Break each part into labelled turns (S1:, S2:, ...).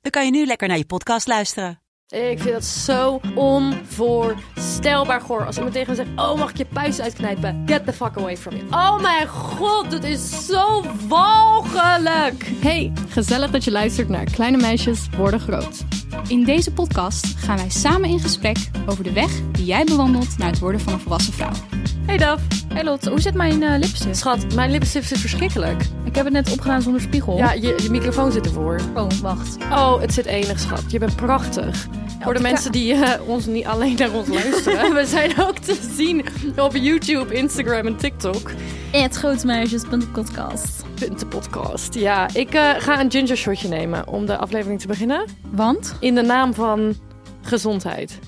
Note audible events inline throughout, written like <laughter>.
S1: dan kan je nu lekker naar je podcast luisteren.
S2: Ik vind dat zo onvoorstelbaar goor. Als iemand tegen me zegt, oh mag ik je puist uitknijpen? Get the fuck away from me. Oh mijn god, dit is zo walgelijk.
S3: Hey, gezellig dat je luistert naar Kleine Meisjes Worden Groot. In deze podcast gaan wij samen in gesprek over de weg die jij bewandelt naar het worden van een volwassen vrouw.
S2: Hey Daf.
S4: Hey Lot, hoe zit mijn eh, lipstift?
S2: Schat, mijn lipstift zit verschrikkelijk.
S4: Ik heb het net opgedaan zonder spiegel.
S2: Ja,
S3: Oh.
S2: je, je microfoon zit ervoor.
S4: Oh, wacht.
S2: Oh, het zit enig, schat. Je bent prachtig. Voor de
S4: ka-
S2: mensen die eh, ons niet alleen naar <laughs> ons luisteren. We zijn ook te zien op YouTube, Instagram en TikTok.
S4: Het grootmeisjes.podcast.
S2: De podcast. Ja, ik eh, ga een ginger shotje nemen om de aflevering te beginnen.
S4: Want?
S2: In de naam van gezondheid.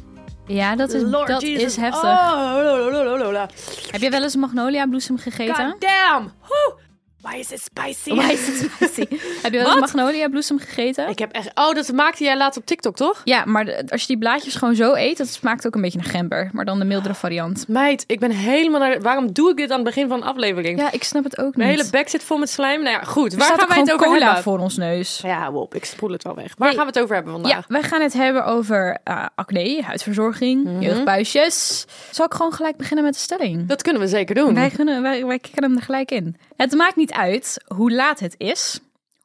S4: Ja, dat is, dat is heftig.
S2: Oh, lo, lo, lo, lo, lo.
S4: Heb je wel eens magnolia bloesem gegeten?
S2: God damn. Whew. Why is it
S4: <laughs>
S2: spicy?
S4: Why is it spicy? heb je wel eens magnolia bloesem gegeten?
S2: Ik heb echt... Oh, dat maakte jij laatst op TikTok, toch?
S4: Ja, maar de- als je die blaadjes gewoon zo eet, dat smaakt ook een beetje naar gember. Maar dan de mildere variant.
S2: Meid, ik ben helemaal naar... Waarom doe ik dit aan het begin van de aflevering?
S4: Ja, ik snap het ook niet.
S2: Mijn hele bek zit vol met slijm. Nou ja, goed.
S4: Er
S2: Waar
S4: staat
S2: gaan
S4: ook
S2: wij het
S4: gewoon
S2: over
S4: cola
S2: hebben?
S4: voor ons neus.
S2: Ja, wop, ik spoel het wel weg. Waar
S4: Hey.
S2: gaan we het over hebben vandaag?
S4: Ja, wij gaan het hebben over eh, acne, huidverzorging, jeugdbuisjes. Zal ik gewoon gelijk beginnen met de stelling?
S2: Mhm. Dat kunnen we zeker doen.
S4: Wij, kunnen, wij, wij kicken hem er gelijk in. Het maakt niet uit hoe laat het is,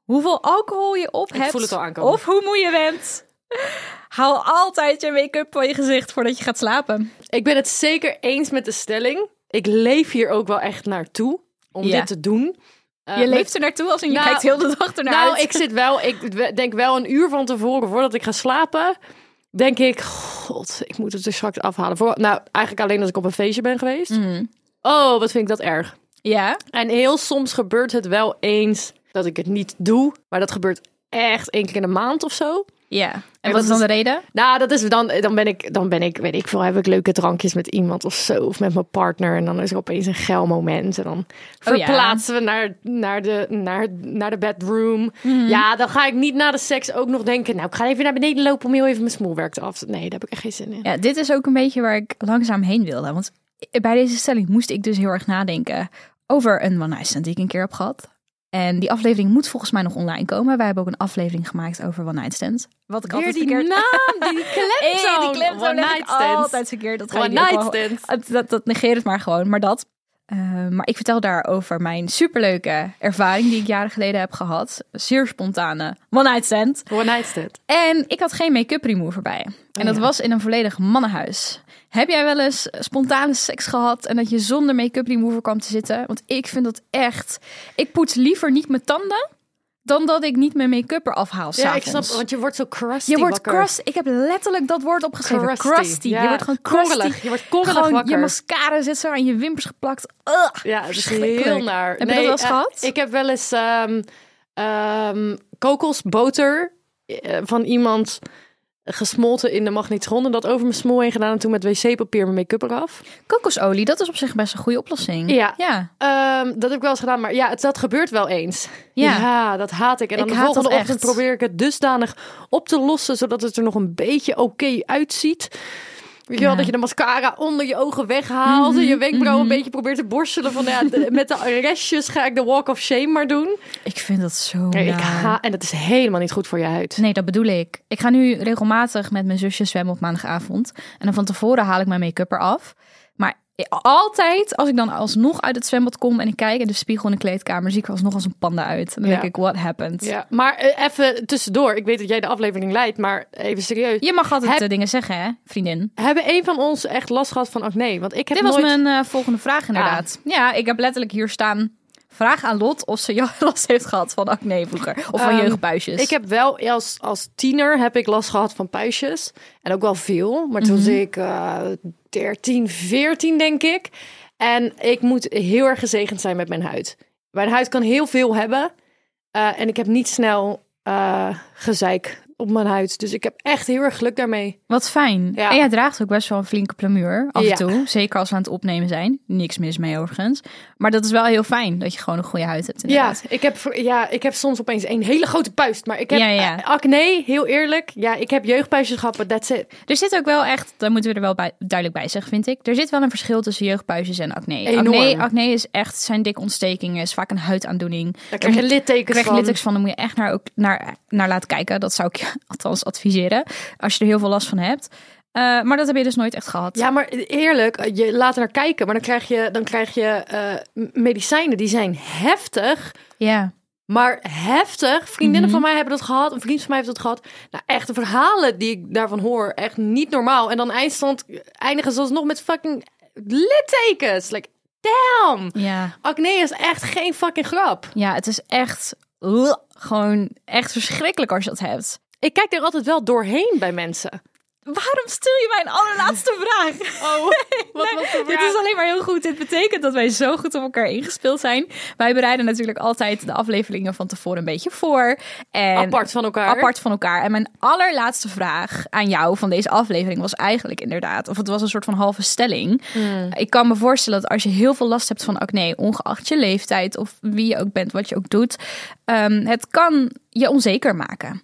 S4: hoeveel alcohol je op hebt,
S2: voel het al aankomen.
S4: of hoe moe je bent. Haal altijd je make-up van je gezicht voordat je gaat slapen.
S2: Ik ben het zeker eens met de stelling. Ik leef hier ook wel echt naartoe om
S4: Ja.
S2: dit te doen. Eh,
S4: je
S2: met-
S4: leeft er naartoe als in je
S2: Nou,
S4: kijkt heel de dag ernaar
S2: Nou,
S4: uit.
S2: ik zit wel, ik we- denk wel een uur van tevoren voordat ik ga slapen. Denk ik, god, ik moet het er straks afhalen. Voor, nou, eigenlijk alleen als ik op een feestje ben geweest.
S4: Mhm.
S2: Oh, wat vind ik dat erg.
S4: Ja,
S2: En heel soms gebeurt het wel eens dat ik het niet doe. Maar dat gebeurt echt één keer in de maand of zo.
S4: ja. En
S2: dat
S4: wat is dan
S2: is-
S4: de reden?
S2: Nou, dat is dan, dan ben ik, dan ben ik, weet ik veel, heb ik leuke drankjes met iemand of zo, of met mijn partner. En dan is er opeens een geil moment. En dan
S4: Oh ja.
S2: verplaatsen we naar, naar, de, naar, naar de bedroom.
S4: Mhm.
S2: Ja, dan ga ik niet na de seks ook nog denken, nou, ik ga even naar beneden lopen om heel even mijn smoelwerk te af. Nee, daar heb ik echt geen zin in.
S4: Ja, dit is ook een beetje waar ik langzaam heen wilde. Want bij deze stelling moest ik dus heel erg nadenken over een one night stand die ik een keer heb gehad. En die aflevering moet volgens mij nog online komen. Wij hebben ook een aflevering gemaakt over one night stands. Wat ik
S2: Weer
S4: altijd
S2: die
S4: verkeerd...
S2: naam,
S4: <laughs>
S2: die
S4: Hey,
S2: klemtoon.
S4: die klemtoon
S2: One
S4: leg
S2: night
S4: ik
S2: stands.
S4: altijd verkeerd. Dat ga
S2: One
S4: je niet
S2: night
S4: ook wel-
S2: stands.
S4: Dat, dat, dat negeer het maar gewoon. Maar dat. Eh, maar ik vertel daarover mijn superleuke ervaring die ik jaren geleden heb gehad. Zeer spontane one night stand.
S2: One night stand.
S4: En ik had geen make-up remover bij.
S2: Oh
S4: En dat was in een volledig mannenhuis. Heb jij wel eens spontane seks gehad en dat je zonder make-up remover kwam te zitten? Want ik vind dat echt. Ik poets liever niet mijn tanden dan dat ik niet mijn make-up eraf haal.
S2: Ja, ik snap,
S4: s'avonds.
S2: want je wordt zo crusty
S4: Je wordt
S2: wakker.
S4: crusty. Ik heb letterlijk dat woord opgeschreven.
S2: Crusty,
S4: Crusty.
S2: ja.
S4: Je wordt gewoon crusty.
S2: Korrelig. Je wordt korrelig
S4: gewoon,
S2: wakker.
S4: Je mascara zit zo aan je wimpers geplakt. Ugh,
S2: Ja, het is
S4: verschrikkelijk.
S2: heel naar.
S4: Heb je dat wel eens
S2: eh,
S4: gehad?
S2: Ik heb wel eens ehm, ehm, kokosboter eh, van iemand gesmolten in de magnetron en dat over mijn smoel heen gedaan en toen met wc-papier mijn make-up eraf.
S4: Kokosolie, dat is op zich best een goede oplossing.
S2: Ja.
S4: ja.
S2: Ehm, dat heb ik wel eens gedaan, maar ja, het, dat gebeurt wel eens.
S4: Ja.
S2: dat haat ik. En dan
S4: Ik
S2: de
S4: haat dat
S2: volgende ochtend
S4: echt.
S2: probeer ik het dusdanig op te lossen, zodat het er nog een beetje oké uitziet. Weet je wel,
S4: Ja.
S2: dat
S4: Mhm,
S2: je de mascara onder je ogen weghaalt en je wenkbrauw een beetje probeert te borstelen. Van, ja, de- met de restjes ga ik de walk of shame maar doen.
S4: Ik vind dat zo
S2: Nee, ik
S4: naar.
S2: ga, en dat is helemaal niet goed voor je huid.
S4: Nee, dat bedoel ik. Ik ga nu regelmatig met mijn zusje zwemmen op maandagavond. En dan van tevoren haal ik mijn make-up eraf. Maar altijd, als ik dan alsnog uit het zwembad kom en ik kijk in de spiegel in de kleedkamer, zie ik er alsnog als een panda uit. En dan
S2: Ja.
S4: denk ik, what happened?
S2: Ja, maar eh, even tussendoor. Ik weet dat jij de aflevering leidt, maar even serieus.
S4: Je mag altijd
S2: Heb-
S4: eh, dingen zeggen, hè, vriendin.
S2: Hebben een van ons echt last gehad van acne? Want ik heb
S4: Dit was
S2: nooit... Ah.
S4: mijn eh, volgende vraag inderdaad. Ja, ik heb letterlijk hier staan... Vraag aan Lot of ze jou <laughs> last heeft gehad van acne vroeger. Of van
S2: Ehm,
S4: jeugdbuisjes.
S2: Ik heb wel als, als tiener heb ik last gehad van puistjes. En ook wel veel. Maar
S4: Mhm.
S2: toen was ik eh 13, 14 denk ik. En ik moet heel erg gezegend zijn met mijn huid. Mijn huid kan heel veel hebben. eh, en ik heb niet snel eh, gezeik op mijn huid. Dus ik heb echt heel erg geluk daarmee.
S4: Wat fijn.
S2: Ja.
S4: En jij draagt ook best wel een flinke plamuur af
S2: Ja.
S4: en toe. Zeker als we aan het opnemen zijn. Niks mis mee overigens. Maar dat is wel heel fijn dat je gewoon een goede huid hebt
S2: Ja
S4: inderdaad.
S2: ik, heb, voor- ja, ik heb soms opeens een hele grote puist. Maar ik heb
S4: Ja, ja.
S2: eh, acne, heel eerlijk. Ja, ik heb jeugdpuistjes gehad, but that's it.
S4: Er zit ook wel echt, daar moeten we er wel bij, duidelijk bij zeggen vind ik. Er zit wel een verschil tussen jeugdpuisjes en acne.
S2: Enorm.
S4: Acne, acne is echt, zijn dik ontstekingen, is vaak een huidaandoening.
S2: Daar krijg je littekens
S4: krijg je
S2: van.
S4: littekens van, dan moet je echt naar, ook, naar, naar laten kijken. Dat zou ik je <laughs> althans adviseren, als je er heel veel last van hebt. Eh, maar dat heb je dus nooit echt gehad.
S2: Ja, maar eerlijk, eh, je laat er naar kijken. Maar dan krijg je, dan krijg je eh, m- medicijnen die zijn heftig.
S4: Ja.
S2: Maar heftig. Vriendinnen
S4: Mhm.
S2: van mij hebben dat gehad. Een vriend van mij heeft dat gehad. Nou, echt de verhalen die ik daarvan hoor. Echt niet normaal. En dan eindstand eindigen ze alsnog met fucking littekens. Like, damn.
S4: ja.
S2: Acne is echt geen fucking grap.
S4: Ja, het is echt ugh, gewoon echt verschrikkelijk als je dat hebt.
S2: Ik kijk er altijd wel doorheen bij mensen.
S4: Waarom stel je mij
S2: <laughs>
S4: een allerlaatste vraag?
S2: Oh, wat, wat voor
S4: Dit is alleen maar heel goed. Dit betekent dat wij zo goed op elkaar ingespeeld zijn. Wij bereiden natuurlijk altijd de afleveringen van tevoren een beetje voor. En
S2: apart van elkaar.
S4: apart van elkaar. En mijn allerlaatste vraag aan jou van deze aflevering was eigenlijk inderdaad, of het was een soort van halve stelling. Ik kan me voorstellen dat als je heel veel last hebt van acne, ongeacht je leeftijd of wie je ook bent, wat je ook doet, ehm, het kan je onzeker maken.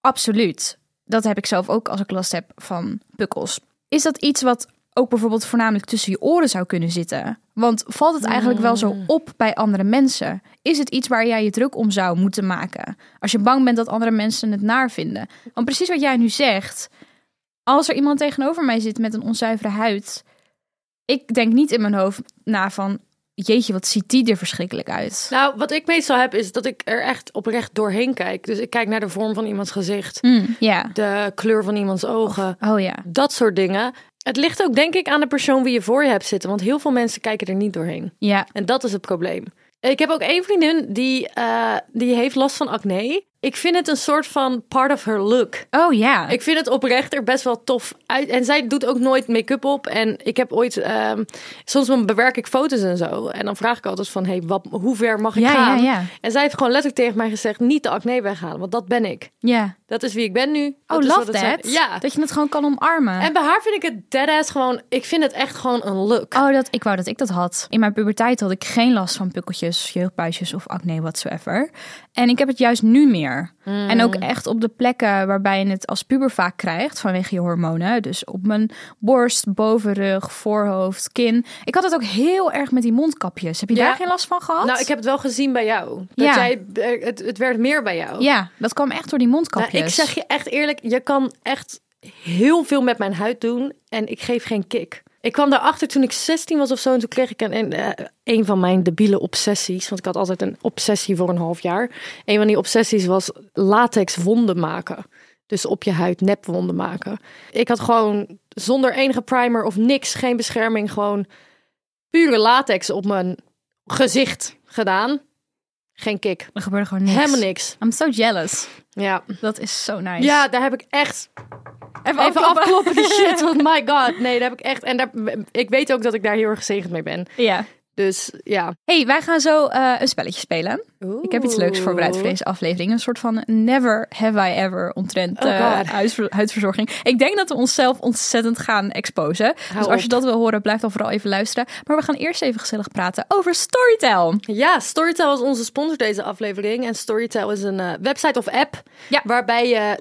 S4: Absoluut. Dat heb ik zelf ook als ik last heb van pukkels. Is dat iets wat ook bijvoorbeeld voornamelijk tussen je oren zou kunnen zitten? Want valt het eigenlijk wel zo op bij andere mensen? Is het iets waar jij je druk om zou moeten maken? Als je bang bent dat andere mensen het naar vinden. Want precies wat jij nu zegt. Als er iemand tegenover mij zit met een onzuivere huid. Ik denk niet in mijn hoofd na van... Jeetje, wat ziet die er verschrikkelijk uit.
S2: Nou, wat ik meestal heb is dat ik er echt oprecht doorheen kijk. Dus ik kijk naar de vorm van iemands gezicht.
S4: Mm, ja.
S2: De kleur van iemands ogen.
S4: Oh ja.
S2: Dat soort dingen. Het ligt ook denk ik aan de persoon wie je voor je hebt zitten. Want heel veel mensen kijken er niet doorheen.
S4: Ja.
S2: En dat is het probleem. Ik heb ook één vriendin die, eh, die heeft last van acne. Ik vind het een soort van part of her look.
S4: Oh ja.
S2: Ik vind het oprecht er best wel tof uit. En zij doet ook nooit make-up op. En ik heb ooit... ehm, soms dan bewerk ik foto's en zo. En dan vraag ik altijd van... Hey, wat, hoe ver mag ik
S4: Ja,
S2: gaan?
S4: ja, ja.
S2: En zij heeft gewoon letterlijk tegen mij gezegd... Niet de acne weghalen, want dat ben ik.
S4: ja.
S2: Dat is wie ik ben nu.
S4: Oh,
S2: Dat is
S4: love
S2: wat het
S4: that.
S2: zijn. Ja.
S4: Dat je het gewoon kan omarmen.
S2: En bij haar vind ik het deadass gewoon... Ik vind het echt gewoon een look.
S4: Oh, dat, ik wou dat ik dat had. In mijn puberteit had ik geen last van pukkeltjes, jeugdbuisjes of acne, whatsoever. En ik heb het juist nu meer.
S2: Hmm.
S4: En ook echt op de plekken waarbij je het als puber vaak krijgt vanwege je hormonen. Dus op mijn borst, bovenrug, voorhoofd, kin. Ik had het ook heel erg met die mondkapjes. Heb je
S2: Ja.
S4: daar geen last van gehad?
S2: Nou, ik heb het wel gezien bij jou. Dat
S4: Ja.
S2: jij, eh, het, het werd meer bij jou.
S4: Ja, dat kwam echt door die
S2: Nou,
S4: mondkapjes.
S2: ik zeg je echt eerlijk, je kan echt heel veel met mijn huid doen en ik geef geen kick. Ik kwam daarachter toen ik 16 was of zo en toen kreeg ik een, een, eh, een van mijn debiele obsessies. Want ik had altijd een obsessie voor een half jaar. Een van die obsessies was latex wonden maken. Dus op je huid nepwonden maken. Ik had gewoon zonder enige primer of niks, geen bescherming, gewoon pure latex op mijn gezicht gedaan. Geen kick.
S4: Er gebeurde gewoon niks.
S2: Helemaal niks.
S4: I'm so jealous.
S2: Ja.
S4: Dat is zo nice.
S2: ja, daar heb ik echt
S4: even,
S2: Even
S4: afkloppen.
S2: afkloppen die <laughs> shit, want my god. Nee, daar heb ik echt... En daar, ik weet ook dat ik daar heel erg gezegend mee ben.
S4: Ja.
S2: Dus ja.
S4: hey, wij gaan zo eh, een spelletje spelen. Ik heb iets leuks voorbereid voor deze aflevering. Een soort van never have I ever omtrent
S2: Oh
S4: eh,
S2: God.
S4: huisver- huidverzorging. Ik denk dat we onszelf ontzettend gaan exposen. dus als je
S2: op.
S4: dat wil horen, blijf dan vooral even luisteren. Maar we gaan eerst even gezellig praten over Storytel.
S2: Ja, Storytel is onze sponsor deze aflevering. En Storytel is een eh, website of app...
S4: Ja.
S2: waarbij je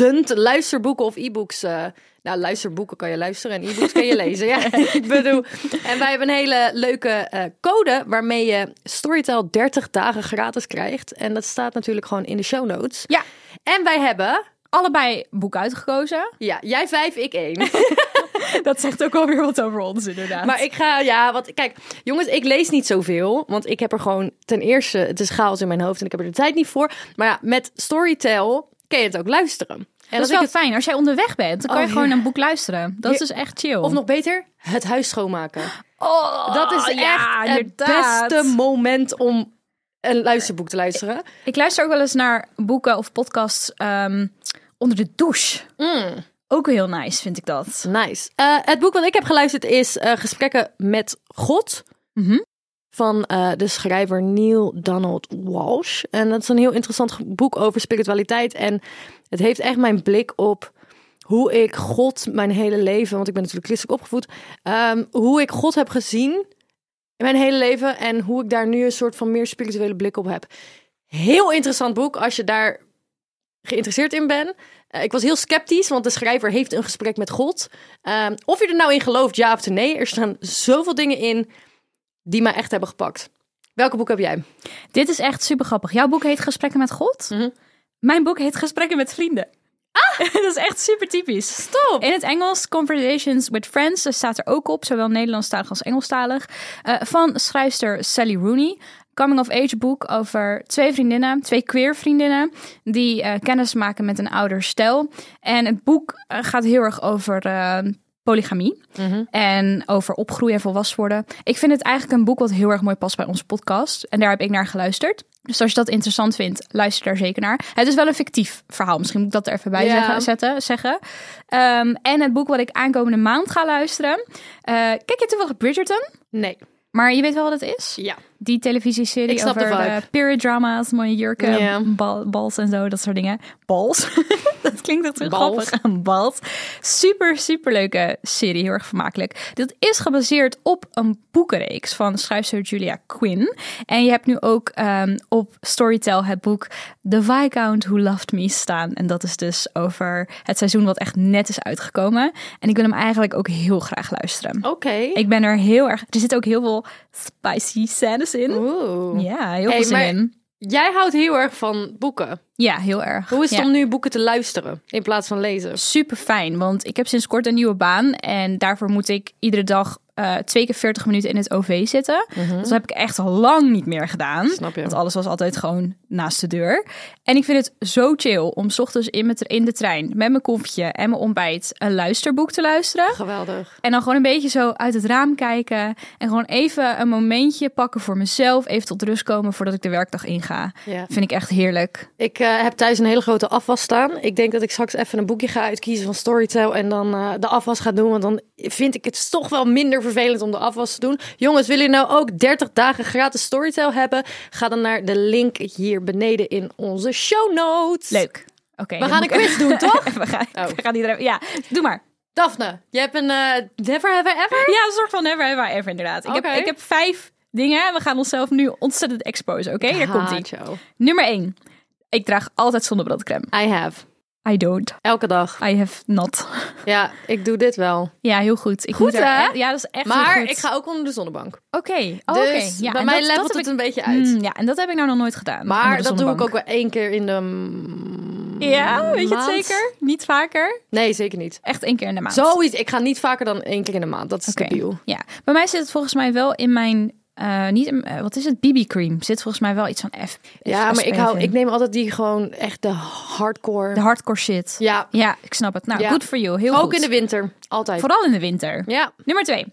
S2: 350.000 luisterboeken of e-books... eh, nou, luisterboeken kan je luisteren en e-books kan <laughs> je lezen. Ja, ik bedoel. En wij hebben een hele leuke eh, code waarmee je Storytel 30 dagen gratis krijgt. En dat staat natuurlijk gewoon in de show notes.
S4: Ja,
S2: En wij hebben...
S4: allebei boek uitgekozen.
S2: Ja, jij vijf, ik één.
S4: <laughs> Dat zegt ook alweer wat over ons inderdaad.
S2: Maar ik ga, ja, want kijk, jongens, ik lees niet zoveel. Want ik heb er gewoon, ten eerste, het is chaos in mijn hoofd en ik heb er de tijd niet voor. Maar ja, met Storytel kun je het ook luisteren. En
S4: dat
S2: als
S4: is wel
S2: ik het-
S4: fijn. Als jij onderweg bent, dan kan
S2: Oh,
S4: je gewoon
S2: ja.
S4: een boek luisteren. Dat is dus echt chill.
S2: of nog beter, het huis schoonmaken.
S4: Oh,
S2: Dat is
S4: ja,
S2: echt het
S4: inderdaad.
S2: beste moment om een luisterboek te luisteren.
S4: Ik luister ook wel eens naar boeken of podcasts ehm, onder de douche. Ook heel nice, vind ik dat.
S2: Nice. Eh, het boek wat ik heb geluisterd is eh, Gesprekken met God. van eh, de schrijver Neil Donald Walsh. En dat is een heel interessant ge- boek over spiritualiteit. En het heeft echt mijn blik op hoe ik God mijn hele leven, want ik ben natuurlijk christelijk opgevoed, ehm, hoe ik God heb gezien in mijn hele leven en hoe ik daar nu een soort van meer spirituele blik op heb. Heel interessant boek als je daar geïnteresseerd in bent. Eh, ik was heel sceptisch, want de schrijver heeft een gesprek met God. Ehm, of je er nou in gelooft, ja of nee, er staan zoveel dingen in die mij echt hebben gepakt. Welke boek heb jij?
S4: Dit is echt super grappig. Jouw boek heet Gesprekken met God.
S2: Mhm.
S4: Mijn boek heet Gesprekken met Vrienden. Ah! <laughs> dat is echt super typisch.
S2: Stop!
S4: In het Engels Conversations with Friends dat staat er ook op, zowel Nederlandstalig als Engelstalig, eh, van schrijfster Sally Rooney. Coming of age boek over twee vriendinnen, twee queer vriendinnen, die eh, kennis maken met een ouder stel. En het boek eh, gaat heel erg over eh, polygamie en over opgroeien en volwassen worden. Ik vind het eigenlijk een boek wat heel erg mooi past bij onze podcast. En daar heb ik naar geluisterd. Dus als je dat interessant vindt, luister daar zeker naar. Het is wel een fictief verhaal. Misschien moet ik dat er even bij
S2: Ja.
S4: zeggen, zetten, zeggen. Ehm, en het boek wat ik aankomende maand ga luisteren. Eh, kijk je toevallig Bridgerton?
S2: Nee.
S4: Maar je weet wel wat het is?
S2: Ja.
S4: Die televisieserie
S2: Ik snap de
S4: over
S2: vibe.
S4: eh, period drama's, mooie jurken,
S2: Ja.
S4: bal- bals en zo, dat soort dingen. Bals? <laughs> dat klinkt echt zo
S2: Bals.
S4: grappig. <laughs> Bals. Super, super leuke serie, heel erg vermakelijk. Dit is gebaseerd op een boekenreeks van schrijfster Julia Quinn. En je hebt nu ook ehm, op Storytel het boek The Viscount Who Loved Me staan. En dat is dus over het seizoen wat echt net is uitgekomen. En ik wil hem eigenlijk ook heel graag luisteren.
S2: Oké.
S4: Ik ben er heel erg. Er zit ook heel veel spicy scènes in.
S2: Oeh.
S4: Ja, heel
S2: Hey,
S4: veel zin
S2: maar-
S4: in.
S2: Jij houdt heel erg van boeken.
S4: Ja, heel erg.
S2: Hoe is het
S4: ja.
S2: om nu boeken te luisteren in plaats van lezen?
S4: Super fijn, want ik heb sinds kort een nieuwe baan. En daarvoor moet ik iedere dag eh, twee keer 40 minuten in het OV zitten. Dus Dat heb ik echt al lang niet meer gedaan.
S2: Snap je.
S4: Want alles was altijd gewoon naast de deur. En ik vind het zo chill om 's ochtends in, met, in de trein met mijn koffietje en mijn ontbijt een luisterboek te luisteren.
S2: Geweldig.
S4: En dan gewoon een beetje zo uit het raam kijken. En gewoon even een momentje pakken voor mezelf. Even tot rust komen voordat ik de werkdag inga.
S2: Ja.
S4: Vind ik echt heerlijk.
S2: Ik eh, heb thuis een hele grote afwas staan. Ik denk dat ik straks even een boekje ga uitkiezen van Storytel en dan eh, de afwas ga doen. Want dan vind ik het toch wel minder vervelend om de afwas te doen. Jongens, willen jullie nou ook 30 dagen gratis Storytel hebben? Ga dan naar de link hier beneden in onze show notes.
S4: Leuk. Oké.
S2: We
S4: dan
S2: gaan
S4: moet
S2: een
S4: ik-
S2: quiz
S4: <laughs>
S2: doen, toch?
S4: we gaan,
S2: Oh.
S4: we gaan die er- Ja, doe maar.
S2: Daphne, je hebt een eh Never Have I Ever?
S4: Ja, een soort van never have I ever inderdaad. Ik,
S2: Oké.
S4: heb, ik heb vijf dingen. We gaan onszelf nu ontzettend exposen. Oké, daar komt
S2: Haat
S4: ie.
S2: jou.
S4: Nummer één. Ik draag altijd zonnebrandcreme.
S2: I have.
S4: I don't.
S2: Elke dag.
S4: I have not.
S2: Ja, ik doe dit wel.
S4: Ja, heel goed. Ik
S2: Goed,
S4: moet er-
S2: hè?
S4: Ja, dat is echt heel
S2: Maar
S4: goed.
S2: ik ga ook onder de zonnebank.
S4: Oké. Oh,
S2: dus
S4: oké. Ja,
S2: bij
S4: en
S2: mij
S4: dat- dat
S2: levelt
S4: heb
S2: het
S4: ik-
S2: een beetje uit.
S4: Mm, ja, en dat heb ik nou nog nooit gedaan. onder
S2: Maar
S4: de
S2: dat doe ik
S4: zonnebank.
S2: ook wel één keer in de mm,
S4: Ja, weet je het
S2: maand.
S4: zeker? Niet vaker.
S2: Nee, zeker niet.
S4: Echt één keer in de maand.
S2: Zoiets. Ik ga niet vaker dan één keer in de maand. Dat is
S4: Oké.
S2: debiel.
S4: Ja. Bij mij zit het volgens mij wel in mijn. eh, niet in, eh, wat is het? BB cream. Zit volgens mij wel iets van F.
S2: Ja, maar ik, hou,
S4: SPF
S2: ik
S4: in.
S2: neem altijd die gewoon echt de hardcore.
S4: De hardcore shit. Ja,
S2: ja,
S4: ik snap het. Nou,
S2: Ja.
S4: good for you. Heel
S2: ook
S4: goed.
S2: in de winter. Altijd.
S4: Vooral in de winter.
S2: Ja,
S4: Nummer twee.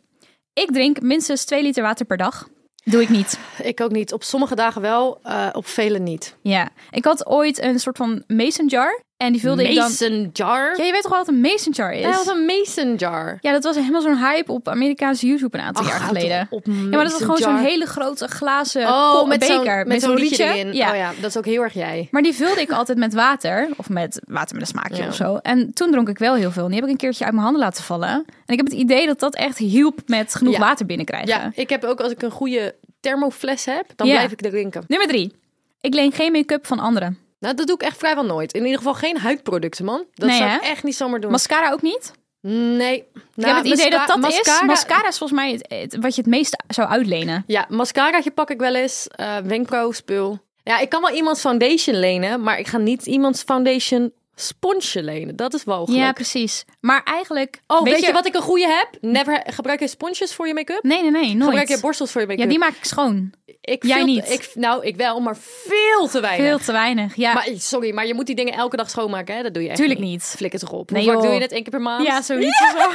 S4: Ik drink minstens 2 liter water per dag. Doe ik niet.
S2: ik ook niet. Op sommige dagen wel, eh, op vele niet.
S4: Ja. Ik had ooit een soort van mason jar. En die vulde ik dan...
S2: Mason jar?
S4: Ja, je weet toch wel wat een mason jar is?
S2: Hij was een mason jar.
S4: Ja, dat was helemaal zo'n hype op Amerikaanse YouTube een aantal
S2: Ach,
S4: jaar
S2: houd
S4: geleden.
S2: toch op,
S4: ja, maar dat was
S2: mason
S4: gewoon zo'n
S2: jar.
S4: hele grote glazen ko-
S2: Oh, met zo'n
S4: beker.
S2: met zo'n liedje erin.
S4: Ja.
S2: Oh ja, dat is ook heel erg jij.
S4: Maar die vulde ik altijd met water. Of met water met een smaakje
S2: Ja.
S4: of zo. En toen dronk ik wel heel veel. En die heb ik een keertje uit mijn handen laten vallen. En ik heb het idee dat dat echt hielp met genoeg
S2: Ja.
S4: water binnenkrijgen.
S2: Ja, ik heb ook als ik een goede thermofles heb, dan
S4: Ja.
S2: blijf ik er drinken.
S4: Nummer drie. Ik leen geen make-up van anderen.
S2: Nou, dat doe ik echt vrijwel nooit. In ieder geval geen huidproducten, man. Dat
S4: Nee,
S2: zou ik
S4: hè?
S2: echt niet zomaar doen.
S4: Mascara ook niet.
S2: nee. Nou,
S4: ik heb het idee dat dat
S2: mascara,
S4: is. Mascara is volgens mij het, het- wat je het meest zou uitlenen.
S2: Ja, mascaraatje pak ik wel eens. eh wenkbrauwspul. Ja, ik kan wel iemands foundation lenen, maar ik ga niet iemands foundation sponsje lenen. Dat is wel
S4: Ja,
S2: Ja.
S4: precies. Maar eigenlijk...
S2: Oh, weet, je... wat ik een goede heb? Never gebruik je sponsjes voor je make-up?
S4: Nee, nee, nee. Nooit.
S2: Gebruik je borstels voor je make-up?
S4: Ja, die maak ik schoon.
S2: ik
S4: jij
S2: veel te-
S4: niet.
S2: Ik, nou, ik wel, maar veel te weinig.
S4: Veel te weinig. Ja,
S2: Maar, sorry, maar je moet die dingen elke dag schoonmaken, hè? Dat doe je echt
S4: tuurlijk
S2: niet.
S4: niet.
S2: Flikker toch op.
S4: Nee,
S2: Hoe vaak
S4: joh.
S2: doe je dit? Eén keer per maand?
S4: Ja, <laughs> zoiets. of Zo.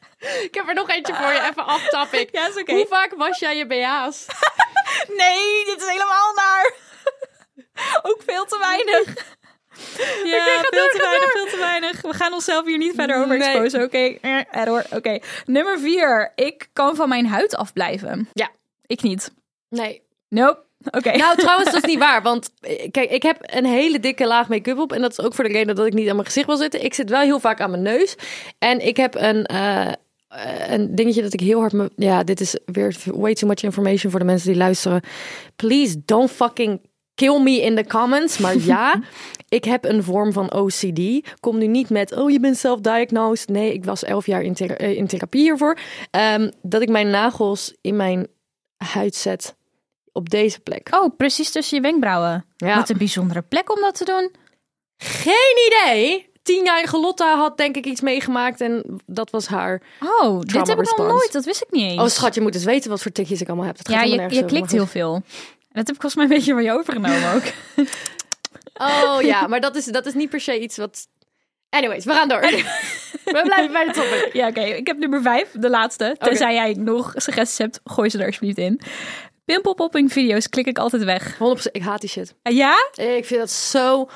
S2: <laughs> Ik heb er nog eentje voor je, even aftappen. ik.
S4: <laughs> Ja, is oké.
S2: Hoe vaak was jij je BH's?
S4: Nee, dit is helemaal naar. <laughs> Ook veel te weinig. Ja,
S2: ga
S4: veel
S2: door,
S4: te
S2: ga
S4: weinig,
S2: door.
S4: veel te weinig. We gaan onszelf hier niet verder over
S2: Nee.
S4: exposen. Oké, Eh, error. Oké. Nummer vier. Ik kan van mijn huid afblijven.
S2: Ja.
S4: Ik niet.
S2: Nee.
S4: Nope. Oké. <laughs>
S2: Nou, trouwens, dat is niet waar. Want eh, kijk, ik heb een hele dikke laag make-up op. En dat is ook voor de reden dat ik niet aan mijn gezicht wil zitten. Ik zit wel heel vaak aan mijn neus. En ik heb een, eh, eh, een dingetje dat ik heel hard... Me... Ja, dit is weer way too much information voor de mensen die luisteren. Please don't fucking kill me in the comments. Maar ja, ik heb een vorm van OCD. Kom nu niet met, oh, je bent self-diagnosed. Nee, ik was elf jaar in, thera- eh, in therapie hiervoor. Ehm, dat ik mijn nagels in mijn huid zet. Op deze plek.
S4: Oh, precies tussen je wenkbrauwen.
S2: Ja.
S4: Wat een bijzondere plek om dat te doen.
S2: Geen idee. Tienjarige Lotta had denk ik iets meegemaakt en dat was haar.
S4: Oh, dit heb ik nog
S2: response.
S4: nooit. Dat wist ik niet eens.
S2: Oh schat, je moet eens weten wat voor tikjes ik allemaal heb. Dat gaat
S4: ja,
S2: helemaal
S4: je,
S2: nergens
S4: je
S2: over,
S4: klikt heel
S2: maar
S4: veel. Dat heb ik volgens mij een beetje van je overgenomen ook.
S2: goed. Oh ja, maar dat is, dat is niet per se iets wat... Anyways, we gaan door. <laughs> we blijven bij de topic.
S4: <laughs> Ja, oké. Ik heb nummer vijf, de laatste. Tenzij jij nog suggesties hebt, gooi ze er alsjeblieft in. Pimpelpopping video's klik ik altijd weg. Eh,
S2: 100%, ik haat die shit.
S4: Ja?
S2: Ik vind dat zo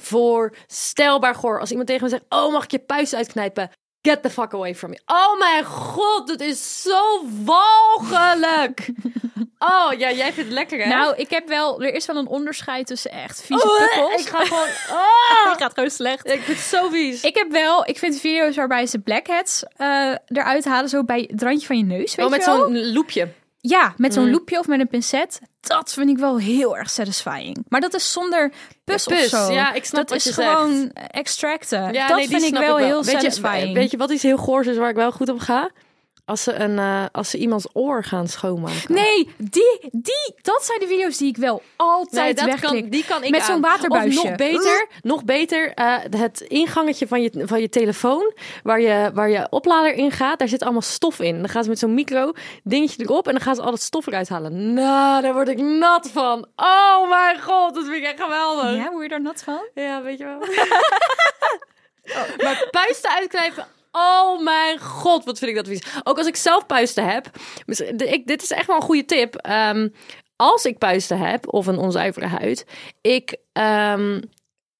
S2: onvoorstelbaar goor. Als iemand tegen me zegt, oh mag ik je puist uitknijpen? Get the fuck away from me. Oh mijn god, dat is zo
S4: <laughs>
S2: walgelijk. Oh ja, jij vindt het lekker hè?
S4: Nou, ik heb wel... Er is wel een onderscheid tussen echt vieze
S2: Oh,
S4: pukkels.
S2: ik ga gewoon... <laughs>
S4: <laughs>
S2: Oh.
S4: Die gaat gewoon slecht.
S2: Ik vind het zo vies.
S4: Ik heb wel... Ik vind video's waarbij ze blackheads eh, eruit halen. Zo bij het randje van je neus, weet
S2: oh, met
S4: je wel?
S2: zo'n loepje.
S4: Ja, met
S2: Mm.
S4: zo'n loepje of met een pincet. Dat vind ik wel heel erg satisfying. Maar dat is zonder pus,
S2: Pus,
S4: of zo.
S2: ja, ik snap
S4: dat
S2: wat
S4: is
S2: je zegt.
S4: gewoon extracten. dat
S2: nee, die
S4: vind ik
S2: snap
S4: wel, heel
S2: weet
S4: satisfying.
S2: Je, weet je wat iets heel goors is waar ik wel goed op ga? Als ze, een, eh, als ze iemands oor gaan schoonmaken.
S4: Nee, die, die, dat zijn de video's die ik wel altijd wegklik.
S2: die kan ik
S4: Met zo'n
S2: aan.
S4: waterbuisje.
S2: Of nog beter, nog beter eh, het ingangetje van je, van je telefoon, waar je, waar je oplader in gaat, daar zit allemaal stof in. Dan gaan ze met zo'n micro dingetje erop en dan gaan ze al dat stof eruit halen. Nou, daar word ik nat van. Oh mijn god, dat vind ik echt geweldig.
S4: Ja, word je daar nat van?
S2: Ja, weet je <laughs> wel. Oh. Maar puisten uitknijpen. Oh mijn god, wat vind ik dat vies. Ook als ik zelf puisten heb. mis- de- Ik, dit is echt wel een goede tip. Ehm, als ik puisten heb of een onzuivere huid. Ik, ehm,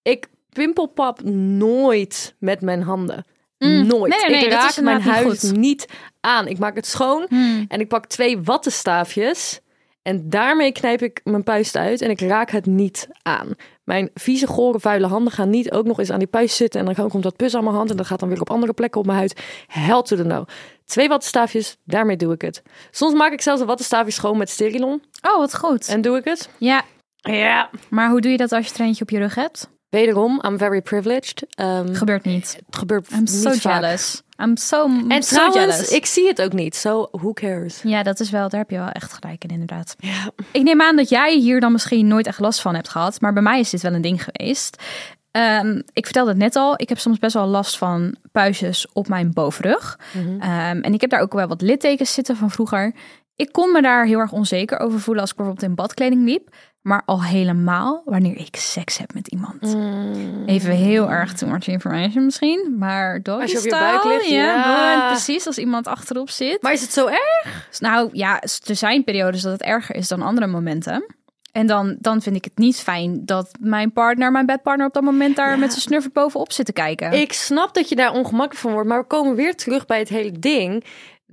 S2: ik pimpelpap nooit met mijn handen. Nooit.
S4: Mm. Nee, nee, nee,
S2: ik
S4: dat
S2: raak
S4: is
S2: mijn
S4: inderdaad niet
S2: huid
S4: goed.
S2: niet aan. Ik maak het schoon en ik pak twee wattenstaafjes. En daarmee knijp ik mijn puist uit en ik raak het niet aan. Mijn vieze, gore, vuile handen gaan niet ook nog eens aan die puist zitten. En dan komt dat pus aan mijn hand en dat gaat dan weer op andere plekken op mijn huid. Hell to the no. Twee wattenstaafjes, daarmee doe ik het. Soms maak ik zelfs een wattenstaafje schoon met sterilon
S4: Oh, wat goed.
S2: en doe ik het.
S4: Ja,
S2: Ja.
S4: maar hoe doe je dat als je er eentje op je rug hebt?
S2: Wederom, I'm very privileged. Ehm,
S4: Gebeurt niet.
S2: het gebeurt
S4: I'm so
S2: niet vaak.
S4: jealous. I'm so, I'm
S2: En
S4: so
S2: trouwens,
S4: jealous.
S2: ik zie het ook niet. So, who cares?
S4: Ja, dat is wel, daar heb je wel echt gelijk in, inderdaad.
S2: Ja.
S4: Ik neem aan dat jij hier dan misschien nooit echt last van hebt gehad, maar bij mij is dit wel een ding geweest. Ehm, ik vertelde het net al, ik heb soms best wel last van puistjes op mijn bovenrug.
S2: Mhm.
S4: Ehm, en ik heb daar ook wel wat littekens zitten van vroeger. Ik kon me daar heel erg onzeker over voelen als ik bijvoorbeeld in badkleding liep. Maar al helemaal wanneer ik seks heb met iemand.
S2: Mm.
S4: Even heel erg too much information misschien. Maar doggy
S2: Als je op je
S4: style,
S2: buik ligt, ja.
S4: man, precies, als iemand achterop zit.
S2: Maar is het zo erg?
S4: Nou ja, s- er zijn periodes dat het erger is dan andere momenten. En dan, dan vind ik het niet fijn dat mijn partner, mijn bedpartner op dat moment daar met zijn snuffer bovenop zit te kijken.
S2: Ik snap dat je daar ongemakkelijk van wordt, maar we komen weer terug bij het hele ding.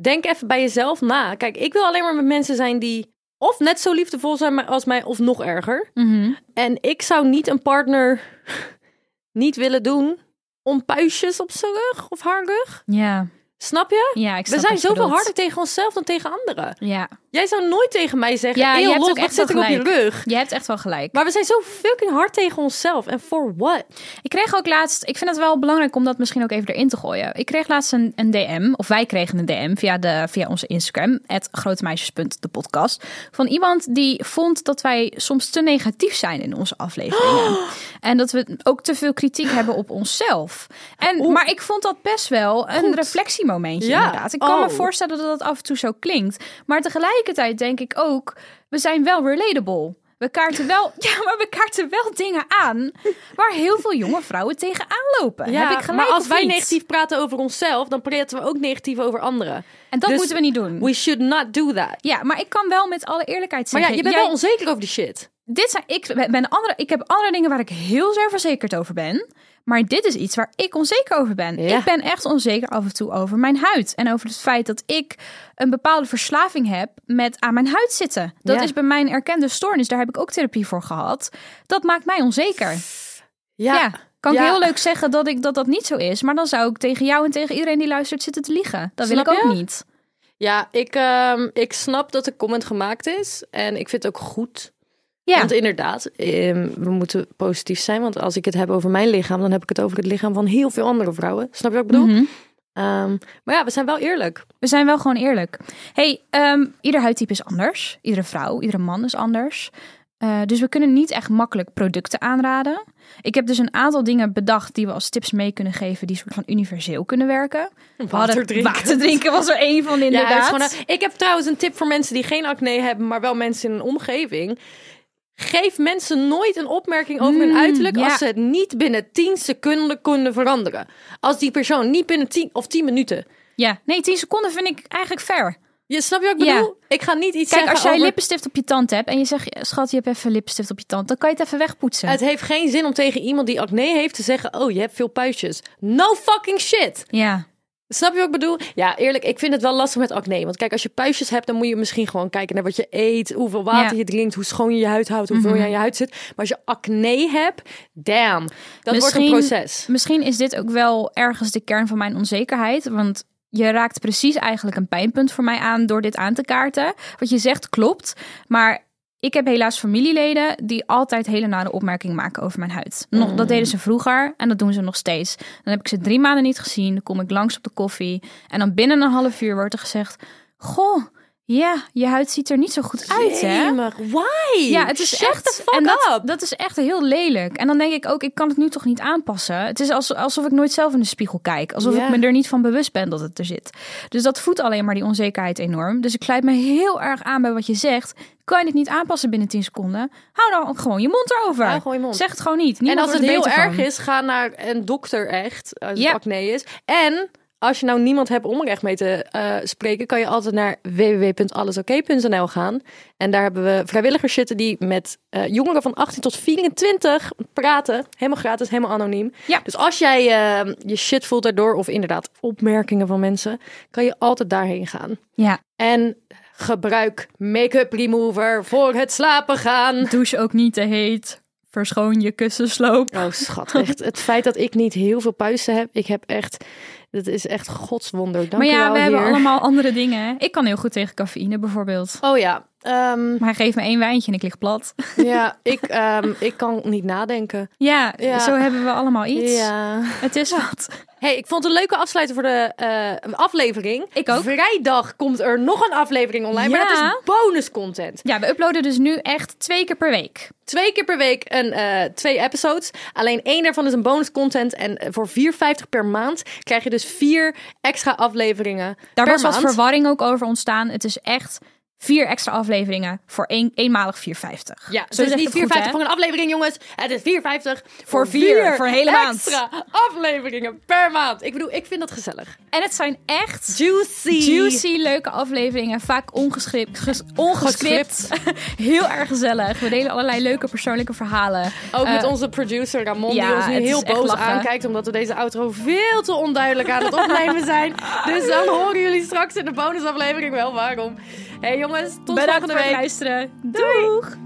S2: Denk even bij jezelf na. Kijk, ik wil alleen maar met mensen zijn die of net zo liefdevol zijn als mij, of nog erger.
S4: Mhm.
S2: En ik zou niet een partner <laughs> niet willen doen om puistjes op zijn rug of haar rug.
S4: Ja,
S2: Snap je?
S4: ja, ik snap
S2: We zijn
S4: wat je
S2: zoveel
S4: bedoelt.
S2: harder tegen onszelf dan tegen anderen.
S4: Ja,
S2: Jij zou nooit tegen mij zeggen,
S4: Ja,
S2: ja,
S4: je
S2: heel
S4: hebt
S2: lot,
S4: ook
S2: wat
S4: echt wel
S2: zit er op je
S4: gelijk.
S2: rug?
S4: je hebt echt wel gelijk.
S2: Maar we zijn zo fucking hard tegen onszelf. En for what?
S4: Ik kreeg ook laatst, ik vind het wel belangrijk om dat misschien ook even erin te gooien. Ik kreeg laatst een, een DM, of wij kregen een DM via, de, via onze Instagram, het grotemeisjes.depodcast. Van iemand die vond dat wij soms te negatief zijn in onze afleveringen.
S2: <gasps>
S4: En dat we ook te veel kritiek hebben op onszelf. En, maar ik vond dat best wel een reflectiemomentje
S2: Ja.
S4: inderdaad. Ik kan me
S2: Oh.
S4: voorstellen dat dat af en toe zo klinkt. Maar tegelijkertijd denk ik ook, we zijn wel relatable. We kaarten wel, <laughs> ja, maar we kaarten wel dingen aan waar heel veel jonge vrouwen tegenaan lopen. Eh, Heb ik gelijk
S2: maar als
S4: of
S2: wij
S4: niet?
S2: negatief praten over onszelf, dan praten we ook negatief over anderen.
S4: En dat
S2: Dus
S4: moeten we niet doen.
S2: We should not do that.
S4: Ja, maar ik kan wel met alle eerlijkheid
S2: Maar ja,
S4: zeggen...
S2: je bent
S4: jij-
S2: wel onzeker over die shit.
S4: dit zijn, ik, ben andere, ik heb andere dingen waar ik heel zelfverzekerd over ben. Maar dit is iets waar ik onzeker over ben.
S2: Ja.
S4: Ik ben echt onzeker af en toe over mijn huid. En over het feit dat ik een bepaalde verslaving heb met aan mijn huid zitten. Dat
S2: Ja.
S4: is bij mijn erkende stoornis. Daar heb ik ook therapie voor gehad. Dat maakt mij onzeker. Ja. Kan ik
S2: Ja.
S4: heel leuk zeggen dat, ik, dat dat niet zo is. Maar dan zou ik tegen jou en tegen iedereen die luistert zitten te liegen. Dat wil
S2: Snap
S4: ik ook
S2: je?
S4: niet.
S2: Ja, ik, ehm, ik snap dat de comment gemaakt is. En ik vind het ook goed.
S4: Ja.
S2: Want inderdaad, ehm, we moeten positief zijn. Want als ik het heb over mijn lichaam, dan heb ik het over het lichaam van heel veel andere vrouwen. Snap je wat ik bedoel?
S4: Mhm.
S2: Ehm, maar ja, we zijn wel eerlijk.
S4: We zijn wel gewoon eerlijk. hey, ehm, ieder huidtype is anders. Iedere vrouw, iedere man is anders. Eh, dus we kunnen niet echt makkelijk producten aanraden. Ik heb dus een aantal dingen bedacht die we als tips mee kunnen geven, die soort van universeel kunnen werken. We hadden- Water drinken was er één van,
S2: Ja,
S4: inderdaad.
S2: het is gewoon een- ik heb trouwens een tip voor mensen die geen acne hebben, maar wel mensen in een omgeving. Geef mensen nooit een opmerking over hun
S4: Mm,
S2: uiterlijk
S4: ja.
S2: als ze het niet binnen 10 seconden kunnen veranderen. Als die persoon niet binnen 10 of 10 minuten.
S4: Ja, nee, 10 seconden vind ik eigenlijk fair.
S2: Je snap je wat ik
S4: Ja.
S2: bedoel? Ik ga niet iets
S4: Kijk,
S2: zeggen
S4: als jij
S2: over...
S4: lippenstift op je tand hebt en je zegt, schat, je hebt even lippenstift op je tand, dan kan je het even wegpoetsen.
S2: Het heeft geen zin om tegen iemand die acne heeft te zeggen: "Oh, je hebt veel puistjes." No fucking shit.
S4: Ja,
S2: Snap je wat ik bedoel? Ja, eerlijk, ik vind het wel lastig met acne. Want kijk, als je puistjes hebt, dan moet je misschien gewoon kijken naar wat je eet, hoeveel water
S4: Ja. Mhm.
S2: je drinkt, hoe schoon je je huid houdt, hoeveel je aan je huid zit. Maar als je acne hebt, damn, dat
S4: Misschien-
S2: wordt een proces.
S4: Misschien is dit ook wel ergens de kern van mijn onzekerheid. Want je raakt precies eigenlijk een pijnpunt voor mij aan door dit aan te kaarten. Wat je zegt klopt. Maar ik heb helaas familieleden die altijd hele nare opmerkingen maken over mijn huid. Nog,
S2: Mm.
S4: Dat deden ze vroeger en dat doen ze nog steeds. Dan heb ik ze drie maanden niet gezien. Dan kom ik langs op de koffie. En dan binnen een half uur wordt er gezegd: Goh, ja, je huid ziet er niet zo goed uit, hè?
S2: Jemig, why?
S4: Ja, het is
S2: Shut
S4: echt.
S2: the fuck
S4: en dat,
S2: up.
S4: dat is echt heel lelijk. En dan denk ik ook, ik kan het nu toch niet aanpassen. Het is als- alsof ik nooit zelf in de spiegel kijk. Alsof
S2: Ja.
S4: ik me er niet van bewust ben dat het er zit. Dus dat voedt alleen maar die onzekerheid enorm. Dus ik sluit me heel erg aan bij wat je zegt. Kan je het niet aanpassen binnen 10 seconden? Hou dan ook gewoon je mond erover.
S2: Hou gewoon je mond.
S4: Zeg het gewoon niet. Niemand
S2: en als het
S4: wordt er
S2: heel
S4: beter
S2: erg
S4: van.
S2: is, ga naar een dokter echt, als
S4: Ja.
S2: het acne is. En als je nou niemand hebt om er echt mee te eh, spreken, kan je altijd naar www.allesoké.nl gaan. En daar hebben we vrijwilligers zitten die met eh, jongeren van 18 tot 24 praten. Helemaal gratis, helemaal anoniem.
S4: Ja.
S2: Dus als jij eh, je shit voelt daardoor, of inderdaad opmerkingen van mensen, kan je altijd daarheen gaan.
S4: Ja,
S2: En gebruik make-up remover voor het slapen gaan.
S4: douche ook niet te heet. Verschoon je kussensloop.
S2: Oh, schat, echt. Het feit dat ik niet heel veel puisten heb, ik heb echt... Dat is echt godswonder. Dank
S4: maar
S2: u
S4: ja,
S2: wel,
S4: we hebben
S2: heer.
S4: allemaal andere dingen. hè. Ik kan heel goed tegen cafeïne bijvoorbeeld.
S2: Oh ja, ehm,
S4: Maar geef me één wijntje en ik lig plat.
S2: <laughs> ja ik, ehm, ik kan niet nadenken.
S4: Ja,
S2: Ja.
S4: zo hebben we allemaal iets.
S2: Ja.
S4: Het is wat.
S2: Hey, ik vond het een leuke afsluiter voor de eh, aflevering.
S4: Ik ook.
S2: Vrijdag komt er nog een aflevering online, maar
S4: Ja.
S2: dat is bonus content.
S4: Ja, we uploaden dus nu echt twee keer per week.
S2: Twee keer per week een, eh, twee episodes. Alleen één daarvan is een bonus content. En eh, voor 4,50 per maand krijg je dus vier extra afleveringen
S4: Daar
S2: per
S4: was wat
S2: maand.
S4: verwarring ook over ontstaan. Het is echt vier extra afleveringen voor één, eenmalig 4,50.
S2: Ja,
S4: Zo
S2: dus
S4: zeg ik
S2: niet
S4: het goed,
S2: 4,50
S4: hè?
S2: voor een aflevering, jongens. Het is 4,50
S4: Voor vier, voor een hele maand.
S2: extra afleveringen per maand. Ik bedoel, ik vind dat gezellig.
S4: En het zijn echt
S2: Juicy.
S4: juicy, leuke afleveringen. Vaak ongescript, ges- ongescript. <laughs> Heel erg gezellig. We delen allerlei leuke persoonlijke verhalen.
S2: Ook
S4: Eh,
S2: met onze producer Ramon,
S4: ja,
S2: die ons nu
S4: het is
S2: heel
S4: echt
S2: boos
S4: lachen.
S2: aankijkt. Omdat we deze outro veel te onduidelijk aan het opnemen zijn. Dus dan horen jullie straks in de bonusaflevering wel waarom. hey jongens, tot
S4: Bedankt
S2: volgende
S4: voor het
S2: week.
S4: luisteren. Doeg!